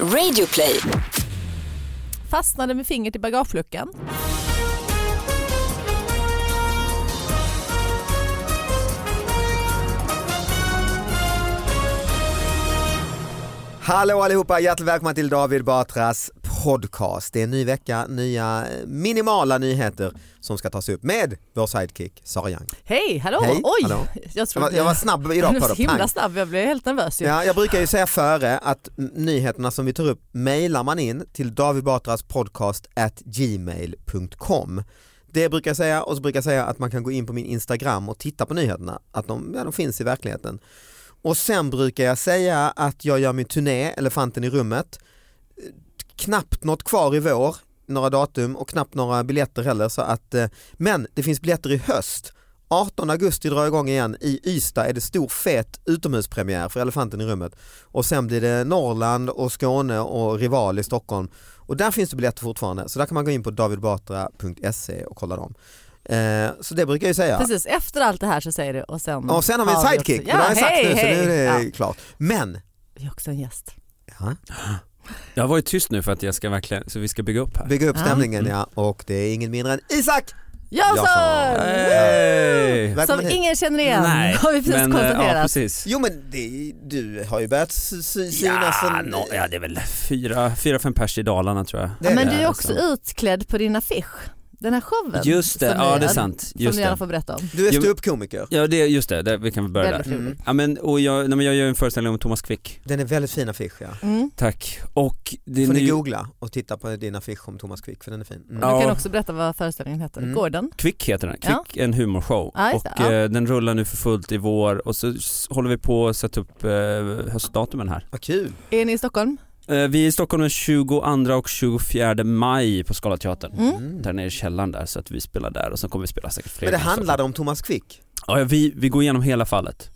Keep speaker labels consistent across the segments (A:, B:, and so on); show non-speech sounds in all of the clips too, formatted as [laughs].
A: Radioplay.
B: Fastnade med fingret i bagageluckan.
C: Hallå allihopa, hjärtligt välkomna till David Batras podcast. Det är en ny vecka, nya eh, minimala nyheter som ska tas upp med vår sidekick Sara Young.
B: Hej, hallå!
C: Hej,
B: Oj!
C: hallå.
B: Jag,
C: Jag
B: trodde,
C: var, jag
B: [laughs]
C: var snabb idag
B: Du
C: på
B: var så
C: det.
B: himla
C: Pang.
B: snabb, jag blev helt nervös ju.
C: Ja, jag brukar ju säga före att n- nyheterna som vi tar upp mejlar man in till David Batras podcast at gmail.com. Det brukar jag säga och så brukar jag säga att man kan gå in på min Instagram och titta på nyheterna, att de, ja, de finns i verkligheten. Och sen brukar jag säga att jag gör min turné, Elefanten i rummet, Eh, knappt något kvar i vår, några datum och knappt några biljetter heller. Så att, eh, men det finns biljetter i höst 18 augusti drar igång igen. I Ystad är det stor fet utomhuspremiär för Elefanten i rummet. Och sen blir det Norrland och Skåne och Rival i Stockholm. Och där finns det biljetter fortfarande. Så där kan man gå in på davidbatra.se och kolla dem. Eh, så det brukar jag ju säga.
B: Precis, efter allt det här så säger du och sen...
C: Och sen har vi en sidekick.
B: också-
C: men det har jag sagt
B: hej,
C: nu, så
B: hej.
C: nu är det
B: Ja,
C: klart. Men,
B: vi har också en gäst.
C: ja,
D: Jag har varit tyst nu för att jag ska verkligen, så vi ska bygga upp här.
C: bygga upp
B: Ja. Mm.
C: stämningen ja. Och det är ingen mindre än Isak!
B: Jönsson!
D: Hey!
C: Välkommen
B: Som
C: hit.
B: ingen känner igen, har vi precis
D: men, eh, Ja,
B: konstaterat.
D: precis.
C: Jo men det, du har ju börjat sy- sy-
D: Ja,
C: synas en-
D: nå, ja, det är väl fyra, fyra fem pers i Dalarna tror jag.
C: alltså, Det
B: Ja,
C: är
B: men
C: det, liksom.
B: du är alltså.
D: så.
B: också utklädd på din affisch, den här showen.
D: Just det,
B: som ni
D: ja
B: gör,
D: det är sant.
B: Som
D: Just
B: du gärna
D: det.
B: får berätta om.
C: Du är
D: Jo, men-
C: ståuppkomiker. Mm.
D: Ja, det, just det, där, vi kan väl börja där.
B: Väldigt roligt.
D: Ja, men, och jag, nej, men jag gör en föreställning om Thomas Quick.
C: Den är väldigt fin affisch ja.
B: Mm.
D: Tack. Och det,
C: Får ni
D: ny-
C: googla och titta på din affisch om Thomas Quick för den är fin. Mm.
B: Du kan
D: Ja.
B: också berätta vad föreställningen heter,
C: Mm.
B: Gordon.
D: Quick heter den,
B: Ja.
D: Quick en humorshow
B: Ja, just
D: och
B: det, ja.
D: eh, den rullar nu för fullt i vår och så s- håller vi på att sätta upp eh, höstdatumen här.
C: Vad kul.
B: Är ni i Stockholm?
D: Eh, vi är i Stockholm den 22 och 24 maj på Skala teatern.
B: Mm.
C: Mm.
D: där nere i källaren där så att vi spelar där och sen kommer vi spela säkert fler
C: Men det
D: gånger.
C: handlade om Thomas Quick.
D: Ja, ja, vi, vi går igenom hela fallet.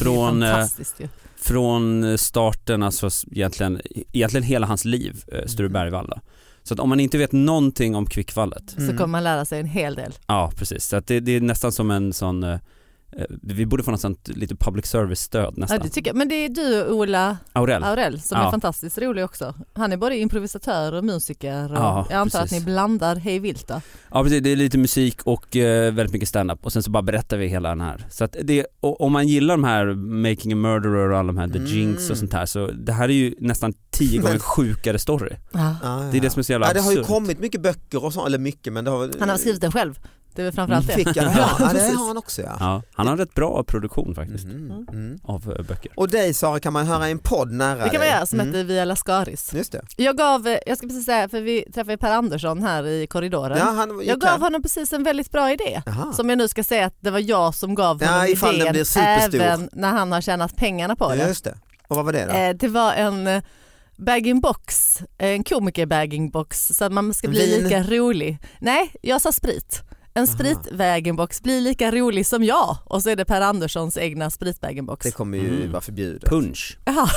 D: Från,
B: det är
D: eh,
B: fantastiskt ju.
D: Från starten, alltså s- egentligen, egentligen hela hans liv, eh, Sture
C: Mm.
D: Bergvalla. Så att om man inte vet någonting om Kvickfallet,
B: Så kommer man lära sig en hel del.
D: ja precis, så att det, det är nästan som en sån, eh, eh, vi borde få något sånt lite public service-stöd
B: Ja,
D: nästan.
B: det tycker jag. Men det är du och Ola
D: Aurell.
B: Aurell som är
D: Ja.
B: fantastiskt rolig också. Han är både improvisatör och musiker och
D: Ja,
B: jag antar
D: precis.
B: att ni blandar hej vilt då.
D: Ja precis, det är lite musik och eh, väldigt mycket stand-up och sen så bara berättar vi hela den här. Så att det, och, om man gillar de här Making a Murderer och alla de här The
C: Mm.
D: Jinx och sånt här så det här är ju nästan
C: [laughs]
D: tio gånger
C: Men-
D: sjukare story.
B: Ja.
C: Ah,
D: Det är det som är så jävla
C: ja, Det har ju
D: absurt.
C: kommit mycket böcker och sånt, eller mycket men det har
B: Han har skrivit den själv. Det är väl framförallt det.
C: Quick, ja, det har- ja, det
B: Precis.
C: har han också ja.
D: Ja, han har en rätt bra produktion faktiskt
C: Mm. Mm.
D: av eh, böcker.
C: Och dig Sara kan man höra i en podd nära
B: Det kan man
C: dig.
B: göra som
C: Mm.
B: heter Via Lascaris.
C: Just det.
B: Jag gav, eh, jag ska precis säga, för vi träffade ju Per Andersson här i korridoren.
C: Ja, han gick
B: jag gav
C: här.
B: honom precis en väldigt bra idé.
C: Jaha.
B: Som jag nu ska säga att det var jag som gav
C: Ja,
B: honom
C: ifall den
B: idén
C: blir superstor.
B: även när han har tjänat pengarna på
C: Ja,
B: det.
C: Just det. Och vad var det då?
B: Eh, det var en eh, bag-in-box, eh, en komiker bag-in-box så att man ska bli
C: Vin.
B: lika rolig. Nej, jag sa sprit. En
C: Aha.
B: sprit bag-in-box, bli lika rolig som jag och så är det Per Anderssons egna sprit bag-in-box.
C: det kommer ju
D: Mm.
C: vara förbjudet.
D: Punsch.
B: Jaha,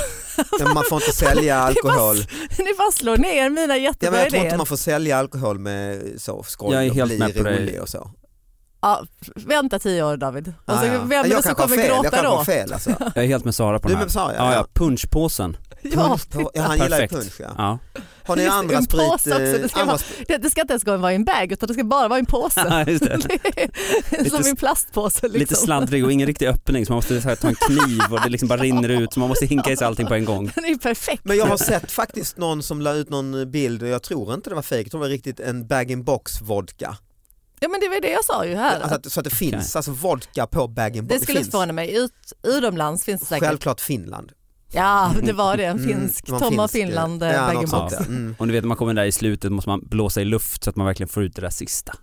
C: Men man får inte sälja alkohol.
B: [laughs] ni bara slår ner mina
C: Ja,
B: jättebra
C: men jag tror inte
B: idéer.
C: man får sälja alkohol med så skoj
D: Jag är
C: och
D: helt
C: bli
D: med på dig.
C: rolig och så.
B: Ja, vänta tio år David. Och så,
C: Ah, ja.
B: Alltså, Vem är det som
C: jag kanske har
B: kommer
C: fel, jag
B: gråta
C: kanske har
B: då?
C: fel alltså.
D: Jag är helt med Sara på
C: Du
D: den
C: är
D: här.
C: med Sara
D: Ja, ja, punschpåsen.
B: Ja,
C: Punsch på, Mm. ja, han gillar ju
D: Perfekt.
C: punsch ja.
D: Ja. [laughs]
C: Har ni
B: Just det,
C: andra
B: en
C: sprit?
B: påse också, det ska
C: eh, andra
B: vara-
C: sprit-
B: det, det ska inte ens gå vara i en bag utan det ska bara vara i en
C: [laughs]
B: påse. [laughs]
D: Ja, just det.
C: Liksom.
B: Det är
D: Lite
B: som i en plastpåse. Liksom. [laughs]
D: Lite sladdrig och ingen riktig öppning så man måste så här, ta en kniv och det liksom bara rinner ut så man måste hinka i sig allting på en gång.
B: Den är ju perfekt.
C: men jag har sett faktiskt någon som la ut någon bild och jag tror inte det var fejk, jag tror det var riktigt en bag-in-box vodka.
B: Ja men det var det jag sa ju här.
C: Alltså att, så att det finns
D: Okej.
C: alltså vodka på bag-in-box.
B: det skulle inte
C: finns.
B: förvåna mig. Ut, utomlands finns det säkert.
C: Självklart Finland.
B: Ja det var det, en
C: Mm,
B: finsk.
C: det var en
B: Tom av
C: finsk, eh,
B: Finland eh,
C: ja,
B: bag
C: något
B: in
C: sånt,
B: box.
C: ja. Mm.
D: Och du vet när man kommer där i slutet måste man blåsa i luft så att man verkligen får ut det där sista.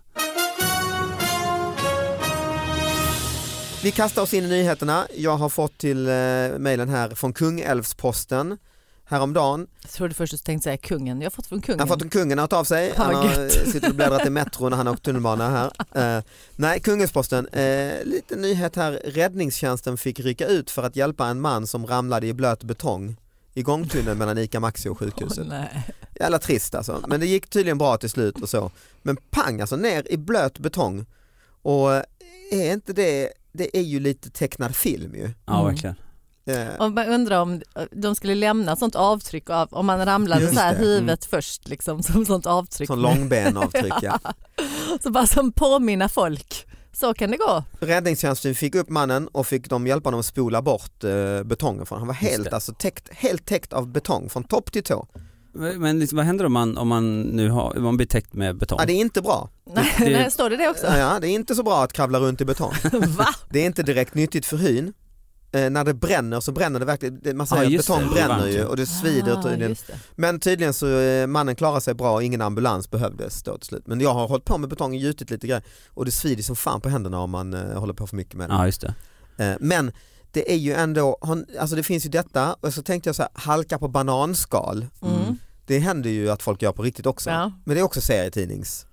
C: Vi kastar oss in i nyheterna. Jag har fått till eh, mejlen här från Kungälvsposten häromdagen.
B: Jag trodde först att du tänkte säga kungen. Jag har fått från
C: Han
B: kungen.
C: har fått en kungen att ta av sig.
B: Fan,
C: Han
B: vad
C: har eh, suttit och bläddrat i metro när han har åkt tunnelbana
B: [laughs]
C: här. Eh, nej, Kungälvsposten. Eh, lite nyhet här. Räddningstjänsten fick rycka ut för att hjälpa en man som ramlade i blöt betong i gångtunneln mellan ICA Maxi och sjukhuset.
B: Åh, nej.
C: Jävla trist alltså. Men det gick tydligen bra till slut och så. Men pang alltså ner i blöt betong. Och eh, är inte det, det är ju lite tecknad film ju.
D: Ja
B: Mm.
D: verkligen.
C: Eh,
B: Och man undrar om eh, de skulle lämna sånt avtryck av om man ramlade
C: Just
B: så här
C: det,
B: huvudet
D: mm.
B: först liksom som sånt avtryck.
C: Sån långbenavtryck
D: [laughs]
C: ja.
B: Så bara som påminna folk. Så kan det gå.
C: Räddningstjänsten fick upp mannen och fick de hjälpa honom att spola bort eh, betongen från Han var
D: Just
C: helt,
D: det.
C: alltså, täckt, helt täckt av betong från topp till tå.
D: Men liksom, vad händer om man, om man nu har, om man blir täckt med betong?
C: Ja, det är inte bra.
B: Nej,
C: [laughs]
D: det-
B: nej, står det det också?
C: Ja, det är inte så bra att kravla runt i betong.
B: [laughs] Va?
C: Det är inte direkt nyttigt för hyn. Eh, när det bränner så bränner det verkligen, det- man
D: Ja,
C: säger att
D: just det,
C: betong
D: det är
C: bränner
D: varmt,
C: ju
D: ja.
C: och det svider
B: Ah,
C: tydligen.
B: just det.
C: Men tydligen så eh, mannen klarade sig bra och ingen ambulans behövdes då till slut. Men jag har hållit på med betong och gjutit lite grejer och det svider som fan på händerna om man eh, håller på för mycket med det.
D: Ja, just det.
C: Eh, Men det är ju ändå, han- alltså det finns ju detta och så tänkte jag så här, halka på bananskal.
B: Mm.
C: Det händer ju att folk gör på riktigt också.
B: Ja.
C: Men det är också serietidnings.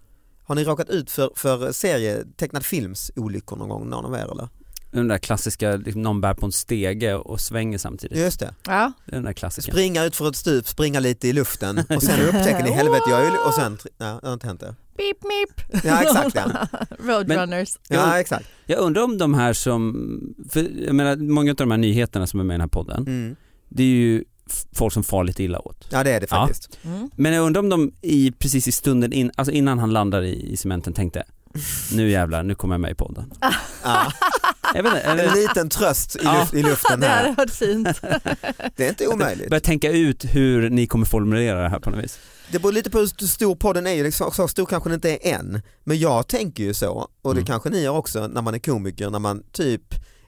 C: Har ni råkat ut för, för serietecknad films olyckor någon gång, någon av er eller?
D: Den där klassiska, liksom, någon bär på en stege och svänger samtidigt.
C: Just det.
B: Ja.
D: Det är den där klassiska.
C: Springa ut för ett stup, springa lite i luften och sen upptäcker ni helvete jag är ju- och sen, ja det har inte hänt det.
B: Beep, [laughs] meep.
C: Ja exakt ja.
B: Roadrunners.
C: ja exakt.
D: Jag undrar om de här som, för jag menar många av de här nyheterna som är med i den här podden,
C: Mm.
D: det är ju f- folk som far lite illa åt.
C: Ja det är det
D: Ja.
C: faktiskt.
B: Mm.
D: Men jag undrar om de i, precis i stunden in, alltså innan han landar i, i
C: [laughs]
D: cementen tänkte nu jävlar, nu kommer jag med i podden.
B: [laughs]
C: Ja.
D: Jag vet inte,
C: En
D: eller
C: liten tröst i,
D: Ja.
C: luf- i
B: [laughs]
C: luften
B: Det hade
C: här.
B: varit fint.
C: Det är inte omöjligt.
D: börja tänka ut hur ni kommer formulera det här på något vis.
C: Det beror lite på hur stor podden är, liksom, så stor kanske den inte är än. Men jag tänker ju så, och det
D: Mm.
C: kanske ni gör också när man är komiker, när man typ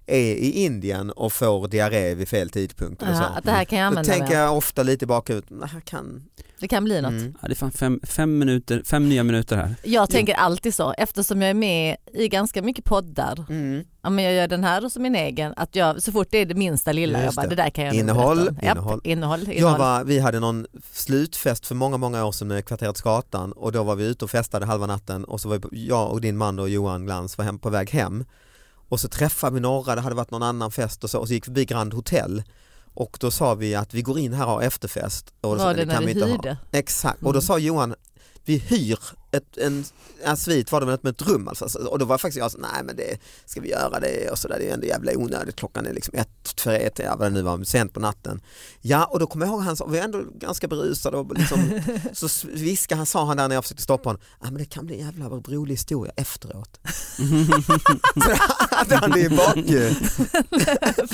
C: är i Indien och får diarré vid fel tidpunkt. Eller
B: Ja,
C: så.
B: att det här kan jag
C: Då
B: använda
C: tänker
B: mig av.
C: jag ofta lite bakut, det här kan...
B: Det kan bli något.
C: Mm.
D: Ja, det är fan fem, fem, minuter, fem nya minuter här.
B: Jag tänker alltid så eftersom jag är med i ganska mycket poddar.
C: Mm.
B: Ja, men jag gör den här och så min egen. Att jag, så fort det är det minsta lilla,
C: Just
B: jag bara,
C: det.
B: det där kan jag nog
C: Innehåll,
B: berätta om. Japp,
C: innehåll.
B: innehåll, innehåll.
C: Jag var, vi hade någon slutfest för många, många år sedan med Kvarteret Skatan och då var vi ute och festade halva natten och så var vi- jag och din man då, Johan Glans var hem, på väg hem och så träffade vi några, det hade varit någon annan fest och så, och så gick vi förbi Grand Hotel och då sa vi att vi går in här och har efterfest. Och då sa
B: var
C: vi,
B: det när
C: kan
B: vi
C: vi inte ha.
B: hyrde?
C: Exakt, och då
B: Mm.
C: sa Johan vi hyr ett, en, en svit var det med ett, med ett rum alltså. Så- och då var faktiskt jag så nej men det ska vi göra det och sådär det är ju ändå jävla onödigt klockan är liksom ett, tre, ett, ja, vad det nu var, sent på natten. Ja och då kommer jag ihåg han sa, vi är ändå ganska berusade
B: [laughs]
C: och liksom, så s- viskade han, sa han där när jag försökte stoppa honom, ja men det kan bli en jävla rolig historia
B: [laughs]
C: efteråt. [laughs] så hade han det i bakhuvudet.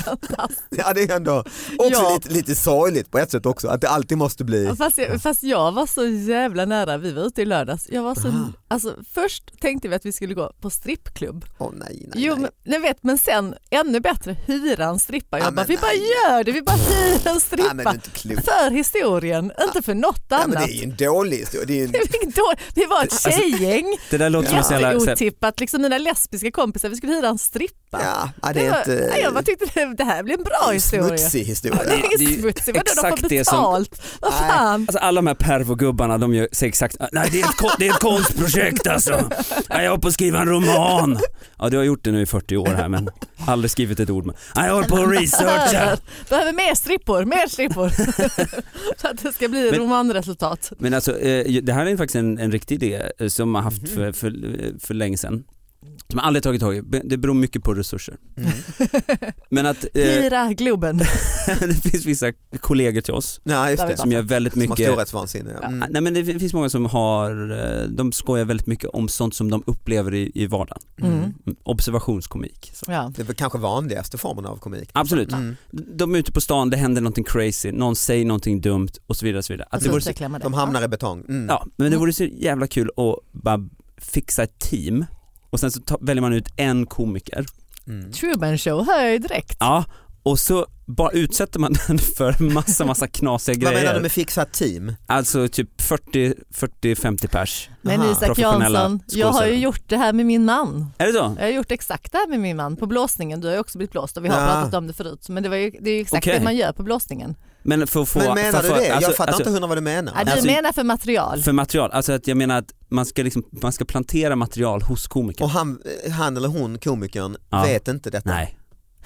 B: Fantastiskt.
C: [laughs] Ja det är ändå också
B: Ja. Alltså,
C: lite, lite sorgligt på ett sätt också att det alltid måste bli
B: Fast jag, fast jag var så jävla nära, vi var ute i lördags. Jag var så,
C: Aha.
B: alltså, först tänkte vi att vi skulle gå på strippklubb.
C: Åh nej, nej,
B: jo,
C: nej.
B: Men, nej, vet, men sen ännu bättre, hyra en strippa. Jag bara,
C: Ja, men
B: vi bara
C: nej.
B: gör det, vi bara hyr en
C: Ja, men du är
B: strippa.
C: inte klok.
B: för historien, inte för något
C: Ja, men
B: Alltså, annat.
C: det är ju en dålig historia. Det är
B: [laughs]
C: ju en...
B: Vi gick då- Vi var ett tjejgäng,
D: Det där låter som en sån jävla, så här-
B: jätteotippat. Liksom mina lesbiska kompisar, vi skulle hyra en strippa.
C: Ja, ja, det
B: Det
C: är
B: var,
C: inte...
B: nej, jag bara tyckte det, det här blir en bra
C: en
B: historia.
C: smutsig
B: Ja, det
C: historia.
D: Det är
B: är
D: ju
B: smutsigt, vadå de
D: exakt
B: får
D: det som-
B: betalt? Vad
C: Nej.
B: fan?
D: Alltså alla de här pervogubbarna de gör, säger exakt, "Ah, nej det är ett, kon- det är ett konstprojekt alltså. Nej, jag håller på att skriva en roman. Ja du har gjort det nu i 40 år här men aldrig skrivit ett ord. Men, nej, jag håller på att researcha.
B: Behöver, behöver mer strippor, mer strippor. [laughs] För att det ska bli
D: Men-
B: romanresultat.
D: Men alltså eh, det här är faktiskt en, en riktig idé eh, som man haft för, för, eh, för länge sedan. Som jag aldrig tagit tag i. Be- Det beror mycket på resurser.
B: [laughs]
C: Mm.
D: Men att eh,
B: Hyra Globen.
D: [laughs] det finns vissa kollegor till oss
C: Nej, just det.
D: som gör väldigt
C: Som har
D: mycket
C: storhetsvansinne. ja.
D: Ja,
C: Mm.
D: Nej men det finns många som har, eh, de skojar väldigt mycket om sånt som de upplever i, i vardagen.
B: Mm.
D: Mm, Observationskomik. Så.
B: Ja.
C: Det är väl kanske vanligaste formen av komik.
D: Absolut.
C: Mm.
D: De är ute på stan, det händer någonting crazy, någon säger någonting dumt och så vidare. Och så vidare. Att det
B: Så
D: vore så,
B: utvecklar man det.
C: De hamnar i betong. Alltså, Mm.
D: ja, men det vore så jävla kul att bara fixa ett team och sen så ta, väljer man ut en komiker.
C: Mm.
B: Truman Show hör jag ju direkt.
D: Ja, och så bara utsätter man [laughs] den för massa, massa knasiga
C: Vad menar du
D: grejer.
C: med fixa team?
D: Alltså typ 40-50 pers.
B: Men
C: Aha.
B: Isak
D: Professionella
B: Jansson, jag har ju
D: skådespelare.
B: gjort det här med min man.
D: Är det så?
B: Jag har gjort exakt det här med min man på blåsningen. Du har ju också blivit blåst och vi har
C: Ja.
B: pratat om det förut. Men det, var ju, det är ju exakt
D: Okej.
B: det man gör på blåsningen.
D: Men för att få...
C: Men menar
D: för,
C: du
D: för,
C: det? Jag
D: alltså-
C: fattar
D: alltså-
C: inte hundra vad du menar.
B: Ja, du
D: Alltså-
B: menar för material.
D: För material, alltså att jag menar att man ska, liksom, man ska plantera material hos komikern.
C: Och han, han eller hon, komikern,
D: Ja.
C: vet inte detta.
D: Nej,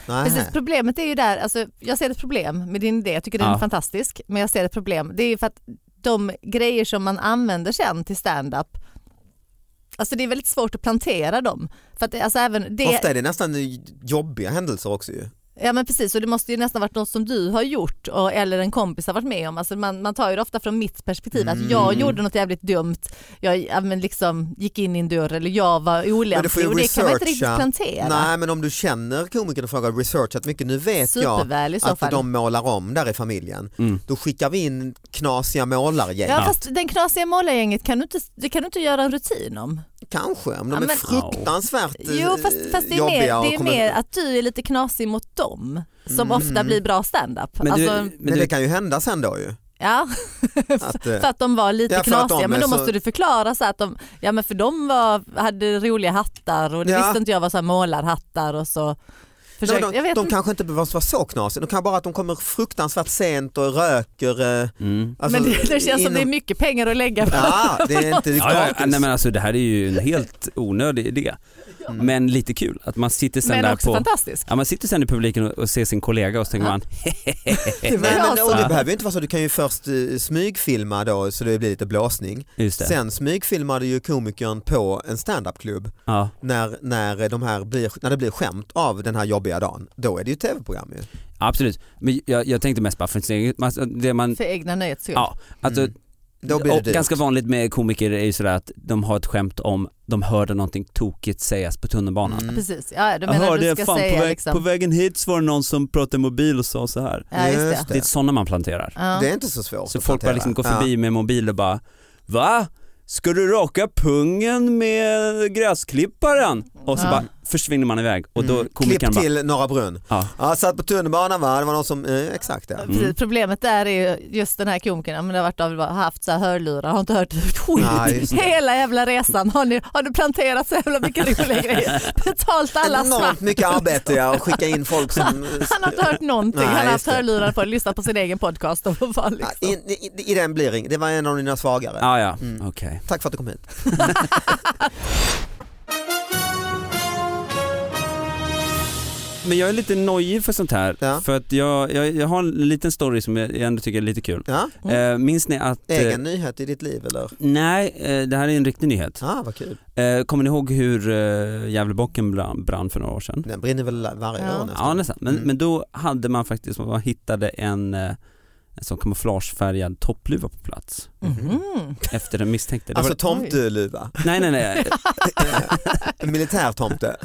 C: Nej.
B: Precis, problemet är ju där, alltså, jag ser ett problem med din idé, jag tycker den
D: Ja.
B: är fantastisk, men jag ser ett problem. Det är ju för att de grejer som man använder sen till stand-up, alltså det är väldigt svårt att plantera dem. För att, det- alltså, även det,
C: Ofta är det nästan jobbiga händelser också ju.
B: Ja men precis och det måste ju nästan varit något som du har gjort och, eller en kompis har varit med om. Alltså man, man tar ju det ofta från mitt perspektiv att jag
C: Mm.
B: gjorde något jävligt dumt. Jag ja, men liksom gick in i en dörr eller jag var
C: får ju
B: olämplig och det kan man inte riktigt
C: researcha.
B: plantera.
C: Nej men om du känner komikern och frågar researchat mycket, nu vet jag
B: Superväl i så
C: att
B: fall.
C: de målar om där i familjen.
D: Mm.
C: Då skickar vi in knasiga målargäng.
B: Ja fast den knasiga målargänget kan du inte, det kan du inte göra en rutin om.
C: Kanske, om de
B: Ja,
C: är
B: men-
C: fruktansvärt eh,
B: Jo fast, fast det är, mer,
C: jobbiga och
B: det är
C: kommer-
B: mer att du är lite knasig mot dem som
C: Mm.
B: ofta blir bra standup.
D: Men, du,
B: Alltså,
D: men
C: Men det
D: du,
C: kan ju hända sen då ju.
B: ja,
C: Att, eh,
B: [laughs] för att de var lite
C: Ja, för att de
B: knasiga men
C: är
B: då
C: så-
B: måste du förklara så att de, ja men för de var, hade roliga hattar och det
C: Ja.
B: visste inte jag var så här målarhattar och så.
C: nej,
B: Försök,
C: men de
B: jag vet
C: de
B: inte.
C: kanske inte behöver vara så knasiga, de kan bara att de kommer fruktansvärt sent och röker. eh,
D: mm.
C: Alltså,
B: men det, det känns som det är
C: inom-
B: mycket pengar att lägga på.
C: Ja, det är inte
D: ja, ja,
C: gratis.
D: nej men alltså det här är ju en helt onödig idé.
C: Mm.
D: Men lite kul att man sitter sen
B: men
D: där
B: också
D: på
B: fantastisk.
D: Ja, man sitter sen i publiken och, och ser sin kollega och så tänker
B: Ja.
D: man
C: Nej,
B: var jag
C: men,
B: som-
C: och det behöver ju inte vara Eh, så, du kan ju först eh, smygfilma då så det blir lite blåsning.
D: Just det.
C: Sen smygfilmade ju komikern på en standupklubb
D: Ja.
C: när, när, de här blir, när det blir skämt av den här jobbiga dagen. Då är det ju tv-program ju.
D: Absolut, men jag, jag tänkte mest bara för sin egen, alltså, det man,
B: För egna nöjets skull.
D: ja, alltså,
C: Mm. Då blir det
D: och
C: dyrt.
D: ganska vanligt med komiker är ju sådär att de har ett skämt om de hörde någonting tokigt sägas på tunnelbanan.
C: Mm.
B: Precis, ja, du menar du ska säga liksom.
D: vägen hit så var det någon som pratade i mobil och sa så här.
B: Ja just det.
C: Just
D: Det är sådana man planterar.
B: Ja.
C: Det är inte så svårt
D: Så
C: att
D: folk bara
C: hantera.
D: liksom går förbi med mobil och bara Va? Ska du raka pungen med gräsklipparen? Och så
B: Ja.
D: bara försvinner man iväg och då
C: Mm.
D: komikern
C: Klipp
D: bara
C: till Norra Brunn.
D: ja.
C: Ja, satt på tunnelbanan va, det var någon som, eh, exakt det.
D: Mm.
B: Precis, Problemet där är ju just den här komikern, ja, men det har varit av, bara haft så här hörlurar, har inte hört ett
C: Nej,
B: skit
C: just
B: [laughs] hela jävla resan. Har, ni, har du planterat så jävla mycket roliga
C: [laughs]
B: grejer? Betalt alla svart.
C: Enormt mycket arbete ja, och skicka in folk
D: [laughs]
C: som...
B: [laughs]
D: Liksom.
B: Han har inte hört någonting,
C: Nej,
B: han har haft
C: just det.
B: hörlurar på och lyssnat på sin egen podcast. Och var liksom.
C: I, i, I den blir det- det var en av dina svagare.
D: Ah, ja.
C: Mm.
D: okej.
C: Tack för att du kom hit.
D: Men jag är lite nojig för sånt här
C: Ja.
D: för att jag, jag, jag har en liten story som jag jag ändå tycker är lite kul.
C: Ja,
B: Mm.
D: Eh, minns ni att... eh,
C: egen nyhet i ditt liv eller?
D: Nej, eh, det här är en riktig nyhet.
C: Ah, vad kul.
D: Eh, kommer ni ihåg hur eh, Gävlebocken brann, brann för några år sedan?
C: Den brinner väl varje
B: Ja.
C: år
D: Ja
C: nästan?
D: nästan, men,
C: Mm.
D: men då hade man faktiskt, man hittade en, eh, en sån kamouflagefärgad toppluva på plats
C: Mm-hmm.
B: Mhm.
D: efter den misstänkte. Det var,
C: Alltså tomteluva, [laughs]
D: nej nej nej,
C: en militärtomte.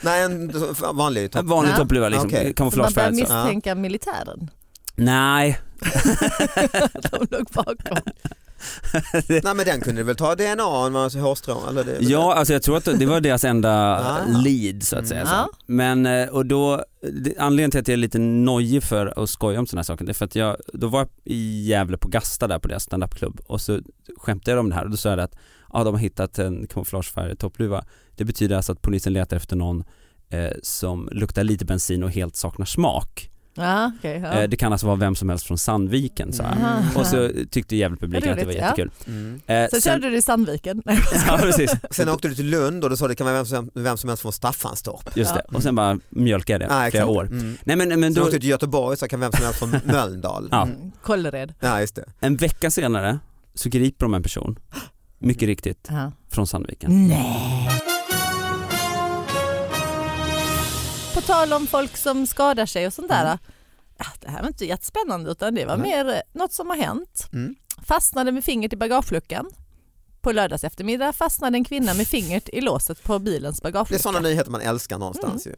C: Nej en vanlig
D: en
C: tomte.
D: vanlig
B: Ja.
D: toppluva liksom,
B: Så
C: Okej.
B: man börjar
D: kamouflagefärgad. så.
B: misstänka
C: [laughs]
B: militären.
D: Nej,
B: De låg bakom.
C: Nej men den kunde du väl ta DNA, en massa hårstrån eller det?
D: ja alltså jag tror att det var deras enda
C: Ah.
D: lead så att säga.
B: Mm.
D: Så.
B: Ja.
D: Men eh, och då, det- anledningen till att jag är lite nojig för att skoja om sådana här saker, det är för att jag, då var jag i Gävle på Gasta där på deras standupklubb och så skämtade jag om det här och då sa jag att ja, de har hittat en kamouflagefärgad toppluva. Det betyder alltså att polisen letar efter någon eh, som luktar lite bensin och helt saknar smak.
B: Ja, okej, ja.
D: Eh, det kan alltså vara vem som helst från Sandviken så här.
B: Mm.
D: Och så eh, tyckte Gävlepubliken att det var
B: Roligt, ja.
D: jättekul.
C: Mm.
D: Eh,
B: Så körde du i Sandviken.
D: [laughs] ja, precis.
C: Sen åkte du till Lund och då sa det kan vara vem som, vem som helst från Staffanstorp.
D: Just det. Och sen bara mjölkade jag det
C: Ah,
D: flera
C: exakt.
D: år.
C: Mm.
D: Nej men, men
C: Sen
D: då,
C: åkte du till Göteborg så kan vem som helst från Mölndal.
D: Ja.
B: [laughs] Mm, Kållered.
C: Ja just det.
D: en vecka senare så griper de en person,
C: Mm.
D: mycket riktigt.
B: Ja.
D: från
B: Mm.
D: Sandviken.
B: Nej. På tal om folk som skadar sig och sånt där.
C: Mm.
B: ah, Det här var inte jättespännande utan det var
C: Nej.
B: mer eh, något som har hänt.
C: Mm.
B: Fastnade med fingret i bagageluckan. På lördags eftermiddag fastnade en kvinna med fingret i låset på bilens
C: Det är
B: bagagelucka.
C: sådana nyheter man älskar någonstans ju. I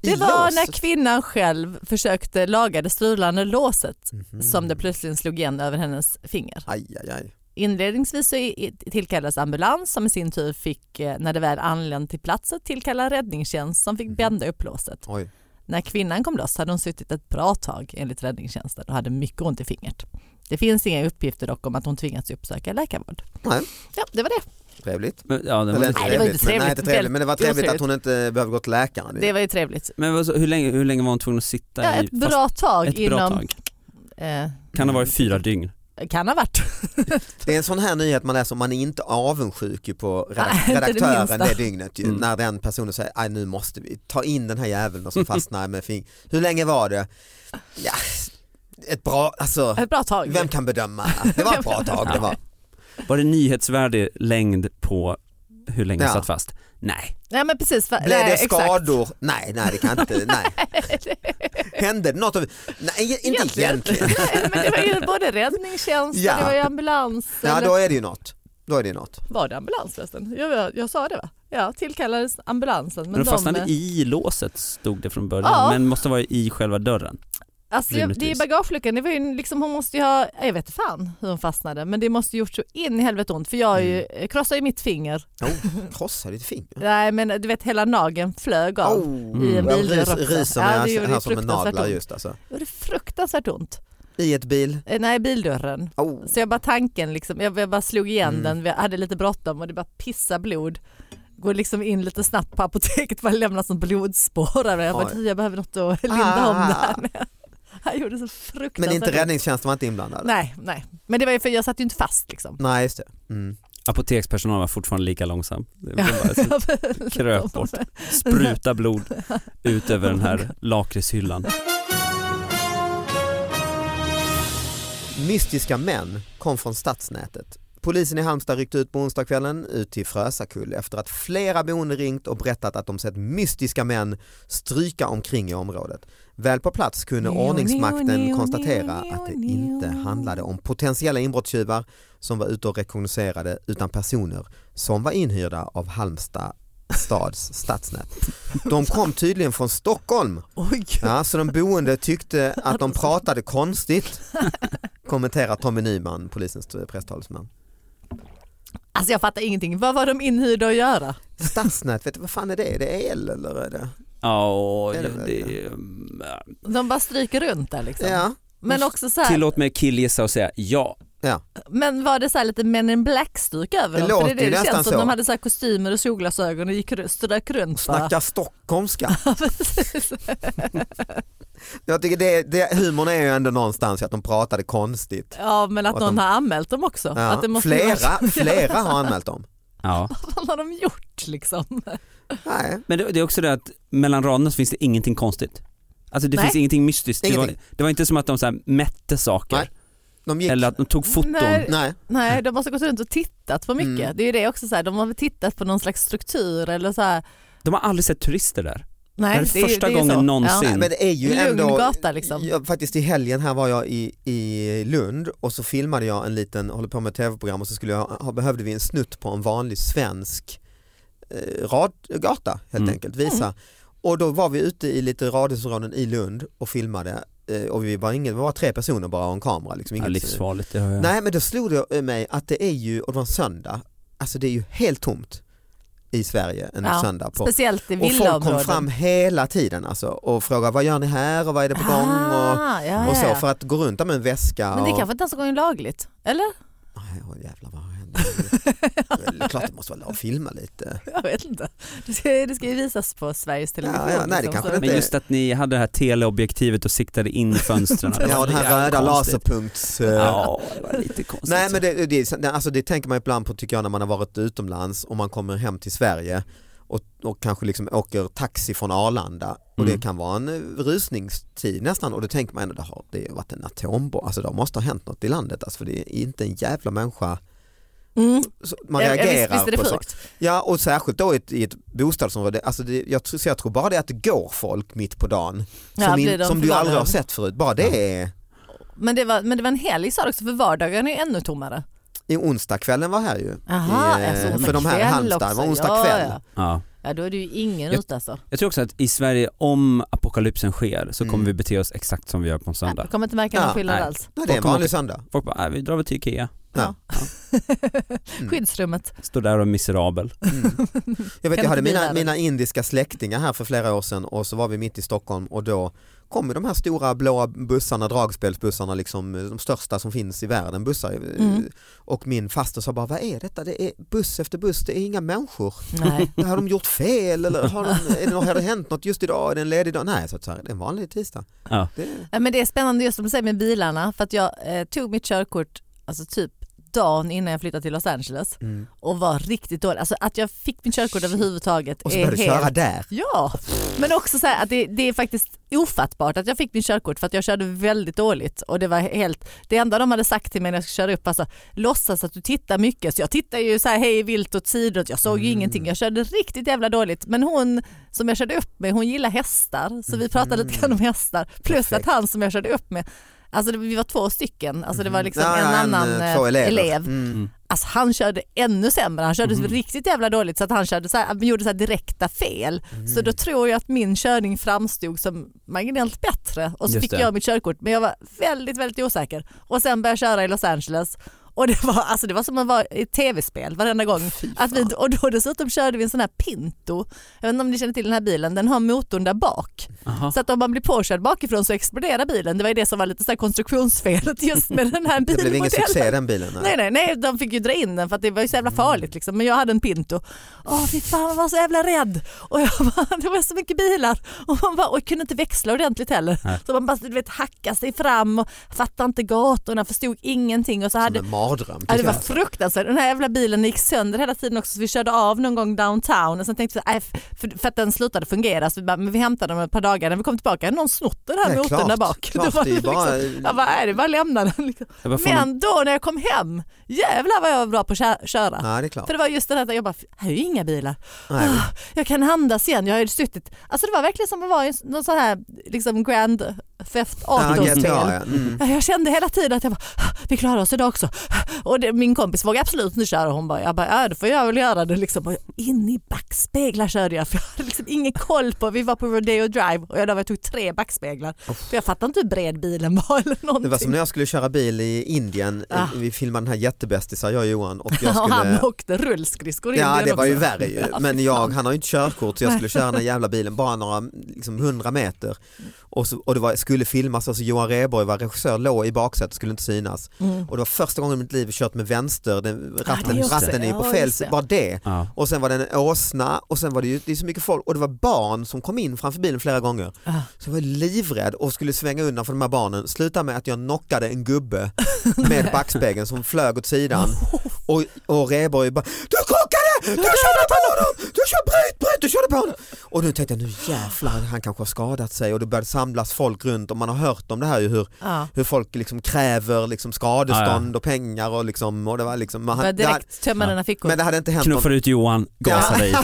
B: Det var
C: lås.
B: när kvinnan själv försökte laga det strulande låset
C: Mhm.
B: som det plötsligt slog igen över hennes finger.
C: Aj, aj, aj.
B: Inledningsvis så i- i- tillkallades ambulans som i sin tur fick, eh, när det väl anlände till platsen, tillkalla räddningstjänst som
C: Mhm.
B: fick bända upp låset.
C: Oj.
B: När kvinnan kom loss hade hon suttit ett bra tag enligt räddningstjänsten och hade mycket ont i fingret. Det finns inga uppgifter dock om att hon tvingats uppsöka läkarvård.
C: Nej.
B: Ja, det var det.
C: Trevligt.
D: Men, ja, den var
C: Eller
D: lite...
B: Nej, det var inte
C: men- Nej,
B: trevligt.
C: inte trevligt. Men det var
B: Det var
C: trevligt att hon inte behövde gå till läkaren.
B: Det var ju trevligt.
D: men vad så- hur, länge, hur länge var hon tvungen att sitta
B: Ja,
D: i?
B: ett
D: fast-
B: bra tag
D: ett bra
B: inom...
D: tag.
B: Eh,
D: Kan ha varit fyra dygn.
B: kan ha varit.
C: Det är en sån här nyhet man läser, man är inte avundsjuk
B: [laughs]
C: ju på redak-
B: Nej, inte det
C: redaktören det,
B: minsta.
C: dygnet ju,
D: Mm.
C: när den personen säger "Aj, nu måste vi ta in den här jäveln och som fastnar med fing. Hur länge var det? Ja, ett bra, alltså
B: [laughs] Ett bra tag.
C: vem kan bedöma? Det var ett bra tag det var.
D: Var det nyhetsvärdig längd på hur länge
C: Ja.
D: jag satt fast? Nej.
B: Nej men precis. va-
C: Blev
B: nej,
C: det
B: exakt. [laughs]
C: skador? Nej, nej det kan inte, nej. Hände det något? Av, nej, inte egentligen.
B: [laughs] Nej, men det var ju både räddningstjänst,
C: Ja.
B: det var ju ambulans.
C: Ja,
B: eller-
C: då är det ju något. Då är det ju något.
B: Var det ambulans förresten? Jag, jag, jag sa det va? Ja, tillkallades ambulansen. Men
D: Men de fastnade
B: de,
D: i låset stod det från början
B: Ja.
D: men måste vara i själva dörren.
B: alltså, jag, det är
D: rimligtvis.
B: bagageluckan, det var ju liksom, hon måste ju ha, jag vet inte fan hur hon fastnade, men det måste ju gjort så in i helvete ont för jag är ju, jag krossade ju mitt finger.
C: Oh, krossa ditt finger.
B: Nej men du vet hela nageln flög av.
C: Oh,
B: I en
C: jag
B: bil
C: rys,
B: också.
C: ryser
B: Ja, det
C: mig
B: gjorde
C: här
B: ju
C: som en
B: fruktansvärt
C: naglar
B: ont.
C: just alltså.
B: Det gjorde fruktansvärt ont.
C: I ett bil.
B: Eh, Nej, bildörren.
C: Oh.
B: Så jag bara tanken, liksom, jag, jag bara slog igen
C: Mm.
B: den, jag hade lite bråttom och det bara pissa blod. Går liksom in lite snabbt på apoteket bara lämnar sånt blodspår. där. Jag, bara,
C: Oj. Ah.
B: "Fy, jag behöver något att linda om det här [laughs] med." Han gjorde så
C: Men
B: fruktansvärt
C: inte
B: ont.
C: räddningstjänsten var inte inblandad?
B: Nej, nej. Men det var ju för jag satt ju inte fast liksom. [laughs]
C: Nej, just det. Mm.
D: Apotekspersonalen var fortfarande lika långsam. Det var
B: [laughs]
D: bara så kröp bort. Spruta blod
C: [laughs]
D: ut över den här lakritshyllan.
C: Mystiska män kom från stadsnätet. Polisen i Halmstad ryckte ut på onsdagskvällen ut till Frösakull efter att flera boende ringt och berättat att de sett mystiska män stryka omkring i området. Väl på plats kunde
B: Neo, neo,
C: ordningsmakten
B: neo,
C: konstatera
B: neo,
C: att det
B: neo.
C: inte handlade om potentiella inbrottstjuvar som var ute och rekognoserade utan personer som var inhyrda av Halmstad stads stadsnät. De kom tydligen från Stockholm
B: Oj,
C: Ja, så de boende tyckte att de pratade konstigt, kommenterar Tommy Nyman, polisens presstalesman.
B: alltså jag fattar ingenting. Vad var de inhyrda att göra?
C: Stadsnät, vet du, vad fan är det? Är det el eller? Är det?
D: Ja, och
C: Är det
D: det, det, mm,
B: De bara stryker runt där liksom.
C: Ja,
B: Men också så här,
D: tillåt mig killgissa och säga ja.
B: men var det så här lite Men in Black-stuk över
C: Det
B: dem? För
C: låter
B: det, är det, det
C: ju
B: känns
C: nästan
B: som
C: så.
B: att de hade så här kostymer och solglasögon och gick, ru- strök runt. bara. [laughs]
C: snacka stockholmska. [laughs] Jag tycker det, det, humorn är ju ändå någonstans att de pratade konstigt.
B: Ja men att,
C: Och att
B: någon
C: de-
B: har anmält dem också.
C: Ja,
B: Att det måste ju vara-
C: flera, flera har anmält dem.
D: ja.
B: [laughs] Vad har de gjort liksom?
C: Nej.
D: Men det, det är också det att mellan raderna så finns det ingenting konstigt. Alltså det
B: Nej.
D: finns ingenting mystiskt. Det,
C: Ingenting.
D: var, det var inte som att de så här mätte saker
C: Nej. De gick.
D: eller att de tog foton.
B: Nej.
C: Nej.
B: Nej de måste ha gått runt och tittat på mycket.
C: Mm.
B: Det är ju det också så här, de har väl tittat på någon slags struktur eller så här.
D: De har aldrig sett turister där.
B: Nej,
D: Det är första
B: ju
D: gången
B: så.
D: någonsin.
C: Nej, men det är ju
B: Lugn
C: ändå,
B: gata, liksom.
C: jag, faktiskt i helgen här var jag i, i Lund och så filmade jag en liten, håller på med ett tv-program och så skulle jag, ha, behövde vi en snutt på en vanlig svensk eh, rad, gata helt
D: Mm.
C: enkelt, visa. Och då var vi ute i lite radhusområden i Lund och filmade eh, och vi var, ingen, vi var tre personer bara och en kamera. Liksom,
D: Ja,
C: inget-
D: livsfarligt, det har jag.
C: Nej men då slog det mig att det är ju, och det var en söndag, alltså det är ju helt tomt i Sverige en
B: Ja,
C: söndag på
B: Speciellt i
C: och folk kom
B: villaområden.
C: fram hela tiden alltså, och frågade vad gör ni här och vad är det på gång och,
B: Ah, ja,
C: och
B: ja,
C: så
B: ja.
C: för att gå runt där med en väska.
B: Men det
C: och,
B: kanske inte ens en gång är lagligt? Eller?
C: Nej, åh, jävlar vad händer? Det är klart det måste vara lov att filma lite.
B: [laughs] Jag vet inte. Det ska, det ska ju visas på Sveriges Television.
C: Ja, ja, nej, det
B: liksom,
C: kanske
B: så-
C: det inte
D: Men just att ni hade det här teleobjektivet och siktade in i fönstren. det
C: [laughs] Ja,
D: var
C: den här
D: jävligt
C: röda
D: konstigt.
C: laserpunkts... eh,
D: Ja, det var lite konstigt.
C: Nej men det, det, är- alltså det tänker man ibland på tycker jag när man har varit utomlands och man kommer hem till Sverige och, och kanske liksom åker taxi från Arlanda och
D: Mm.
C: det kan vara en eh, rusningstid nästan och då tänker man ändå det har det har varit en atombomb, alltså det måste ha hänt något i landet alltså för det är inte en jävla människa
B: Mm.
C: så man
B: Ja, ja,
C: reagerar
B: visst, visst är det
C: på så-
B: sjukt?
C: Ja och särskilt då i ett, i ett bostadsområde, alltså det, jag, tror- så jag tror bara det att det går folk mitt på dagen som,
B: Ja, blir
C: in,
B: de
C: som du aldrig har
B: förvånade?
C: sett förut, bara det är
B: Men det, var, men det var en helg sa du också för vardagen är ju ännu tommare.
C: i onsdagskvällen var här ju.
B: Jaha,
C: Eh,
B: alltså,
C: för de här i
B: kväll
C: Halmstad, det
B: också.
C: var onsdag
B: ja,
C: kväll.
B: Ja.
D: Ja.
B: ja då är det ju ingen
D: Jag-
B: ute alltså.
D: Jag tror också att i Sverige, om apokalypsen sker så kommer
C: Mm.
D: vi bete oss exakt som vi gör på en
B: Jag
D: söndag.
B: kommer inte märka någon
C: Ja,
B: skillnad
D: nej.
B: alls.
C: Nej, Mm. det är en
D: Folk
C: vanlig söndag.
D: Folk bara, "Nej, vi drar väl till Ikea,
C: Ja. Mm.
B: Skyddsrummet.
D: står där och är miserabel.
B: [laughs]
C: Mm. Jag, vet, jag
B: Kan
C: hade
B: inte
C: mina,
B: bilar.
C: mina indiska släktingar här för flera år sedan och så var vi mitt i Stockholm och då kom ju de här stora blåa bussarna, dragspelsbussarna, liksom, de största som finns i världen. bussar.
B: Mm.
C: Och min faster sa bara, vad är detta? Det är buss efter buss, det är inga människor.
B: Nej.
C: Har de gjort fel eller har, de, är det, har det hänt något just idag? Är det en ledig dag? Nej, så, så här, det är en vanlig tisdag.
D: Ja.
C: Det,
B: [laughs] Ja, men det är spännande just som du säger med bilarna för att jag eh, tog mitt körkort alltså typ dagen innan jag flyttade till Los Angeles
C: mm.
B: och var riktigt dålig. Alltså att jag fick mitt körkort överhuvudtaget
C: Och så
B: är
C: började du
B: helt...
C: köra där.
B: Ja, men också så här att det, det är faktiskt ofattbart att jag fick mitt körkort för att jag körde väldigt dåligt och det var helt, det enda de hade sagt till mig när jag skulle köra upp, alltså låtsas att du tittar mycket. Så jag tittar ju så här hej vilt åt sidot, jag såg ju
C: Mm.
B: ingenting, jag körde riktigt jävla dåligt. Men hon som jag körde upp med, hon gillar hästar så vi pratade
C: Mhm.
B: lite grann om hästar. Plus
C: Perfekt.
B: att han som jag körde upp med, alltså det, vi var två stycken, alltså det var liksom
C: Mm. Ja,
B: en
C: ja,
B: annan
C: eh,
B: eh,
C: två elever.
B: elev.
C: Mm.
B: Alltså han körde ännu sämre, han körde
D: Mhm.
B: riktigt jävla dåligt så att han körde så här, gjorde så här direkta fel. Så då tror jag att min körning framstod som marginellt bättre och så
D: Just
B: fick
D: det.
B: jag mitt körkort men jag var väldigt väldigt osäker och sen började jag köra i Los Angeles och det var, alltså det var som att vara i ett tv-spel varenda gång. Att vi, och då dessutom körde vi en sån här Pinto, jag vet inte om ni känner till den här bilen, den har motorn där bak.
D: Aha.
B: Så att om man blir påkörd bakifrån så exploderar bilen, det var ju det som var lite så här konstruktionsfelet just med den här [laughs]
C: Det
B: bilmodellen.
C: blev ingen succé den bilen. nej.
B: Nej, nej, nej, de fick ju dra in den för att det var ju så
C: Mm.
B: jävla farligt liksom. Men jag hade en Pinto. Åh fy fan, jag var så jävla rädd. Och jag bara, [laughs] det var så mycket bilar. Och man bara, och jag kunde inte växla ordentligt heller.
D: Nej.
B: Så man bara, du vet, hackade sig fram och fattade inte gatorna, förstod ingenting. Och så hade,
C: Som en mardröm.
B: Ja, det
C: tycker
B: var
C: jag.
B: fruktansvärt. Den här jävla bilen gick sönder hela tiden också så vi körde av någon gång downtown och sen tänkte vi, "Nej, f- för, för att den slutade fungera så vi, bara, men vi hämtade den om ett par dagar. När vi kom tillbaka hade någon snott den här
C: Nej,
B: motorn
C: klart.
B: där bak. [laughs]
C: Klart,
B: Då var
C: det är
B: det
C: bara-
B: liksom, jag bara, "Nej, det är bara att lämna den. Liksom.
D: Jag bara får en-
B: Men då när jag kom hem, jävlar vad jag var bra på att kö- köra.
C: Ja, det är klart.
B: För det var just det där, jag bara, här är ju inga bilar,
C: Nej,
B: jag kan andas igen, jag har ju suttit. Alltså det var verkligen som att vara i någon sån här liksom Grand Theft
C: ja,
B: Auto-spel.
C: GTA, ja. Mm.
B: Jag kände hela tiden att jag bara, "Ah, vi klarar oss idag också. Och det, min kompis vågade absolut inte köra. Hon bara, jag bara, ja, då får jag väl göra det. Liksom. Och jag, in i backspeglar körde jag för jag hade liksom ingen koll på, vi var på Rodeo Drive och jag, där var jag tog tre backspeglar. För jag fattade inte hur bred bilen var eller någonting.
C: Det var som när jag skulle köra bil i Indien,
B: Ah.
C: vi filmade den här jättebästisar jag och
B: [laughs]
C: Johan och jag
B: Och
C: skulle
B: han åkte rullskridskor in i
C: Ja
B: den
C: det var ju
B: också. [laughs]
C: värre ju. Men jag, han har ju inte körkort så jag skulle köra den här jävla bilen bara några liksom, hundra meter. Och, så, och det var, skulle filmas och så Johan Rheborg var regissör, låg i baksätet skulle inte synas.
B: Mm.
C: Och det var första gången i mitt liv jag kört med vänster, den, ratten,
D: det är också-
C: ratten är ju på
B: ja,
C: fel
B: just det.
C: bara det.
D: Ja.
C: Och sen var det en åsna och sen var det ju det är så mycket folk och det var barn som kom in framför bilen flera gånger.
B: Ah.
C: Så jag var livrädd och skulle svänga undan för de här barnen. Slutade med att jag knockade
B: [laughs]
C: en gubbe med backspegeln som flög åt sidan. Och, och Rheborg bara Du krockade! Du körde på honom! Du körde bryt, bryt! Du körde på honom! Och nu tänkte jag nu jävlar han kanske har skadat sig och det började samlas folk runt och man har hört om det här ju hur,
B: Ja.
C: hur folk liksom kräver liksom skadestånd och pengar och liksom och det var liksom men,
B: Bara
C: han, det, hade-
B: direkt tömma
D: Ja.
B: dina fickor.
C: men det hade inte hänt något.
D: Knuffar ut Johan,
C: [laughs]
D: gasar dig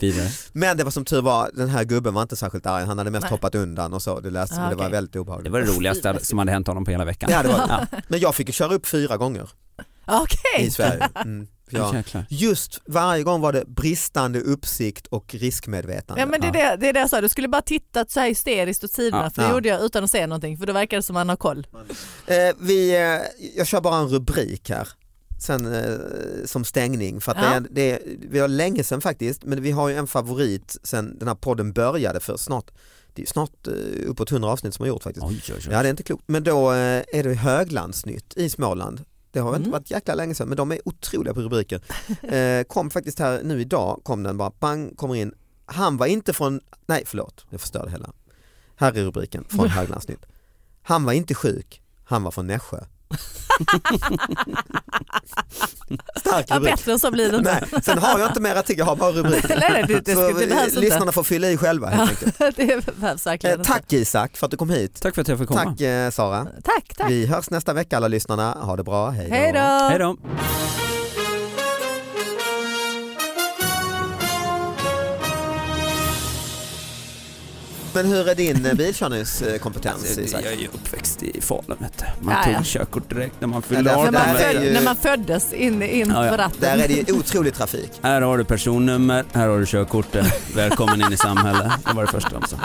D: vidare.
C: Men det var som tur var den här gubben var inte särskilt arg han hade mest
B: Nej.
C: hoppat undan och så det läste
B: Ah,
C: men det var
B: okej.
C: väldigt
D: Det
C: obehagligt.
D: var det roligaste som hade hänt honom på hela veckan.
C: Ja, det var det.
D: Ja.
C: Men jag fick ju köra upp fyra gånger
B: Okej, [laughs]
C: i Sverige. Mm, för jag,
D: Jäklar.
C: Just varje gång var det bristande uppsikt och riskmedvetande.
B: ja, men det, är det, det är det jag sa, du skulle bara tittat så här hysteriskt åt sidorna
D: Ja.
B: för det
C: Ja.
B: gjorde jag utan att säga någonting för då verkar det som att man har koll.
C: Eh, vi, eh, jag kör bara en rubrik här sen, eh, som stängning. För att det,
B: Ja.
C: är, det är, vi har länge sedan faktiskt, men vi har ju en favorit sen den här podden började för snart, det är snart eh, uppåt 100 avsnitt som har gjort faktiskt.
D: Oj, oj, oj.
C: Ja det är inte klokt. Men då eh, är det höglandsnytt i Småland. Det har inte
B: Mm.
C: varit jäkla länge sedan men de är otroliga
B: [laughs]
C: på rubriker. Eh, kom faktiskt här nu idag, kom den bara, bang, kommer in. Han var inte från, nej förlåt, jag förstörde hela. Här är rubriken
B: [laughs]
C: från höglandsnytt. Han var inte sjuk, han var
B: [laughs]
C: från Nässjö. Stark
B: Ja,
C: rubrik.
B: bättre än så blir det
C: [laughs]
B: inte.
C: Nej, sen har jag inte mer artikel, jag har bara rubriker.
B: Nej, nej, [laughs] det, det,
C: Så
B: ska- det behövs
C: eh, lyssnarna får fylla i själva helt enkelt.
B: inte. [laughs] Det behövs verkligen
C: Eh, tack Isak för att du kom hit.
D: Tack för att jag fick komma.
C: Tack eh, Sara.
B: inte. Tack, tack.
C: Vi hörs nästa vecka alla lyssnarna. Ha det bra. Hej då.
B: Hej då.
D: Hej då.
C: Men hur är din eh, bilkörningskompetens
D: Jag
C: Isak?
D: är ju uppväxt i Falun vet du. Man
B: Ja,
D: tog
B: ja.
D: körkort direkt när man
C: Ja,
D: fyllde
C: därför
D: 18.
B: När man,
C: Där är
B: föd,
C: ju-
B: när man föddes in, in
D: Ja, ja.
B: på ratten.
C: Där är det ju otrolig trafik.
D: Här har du personnummer, här har du körkortet. Välkommen in i samhället. Det var det första de sa.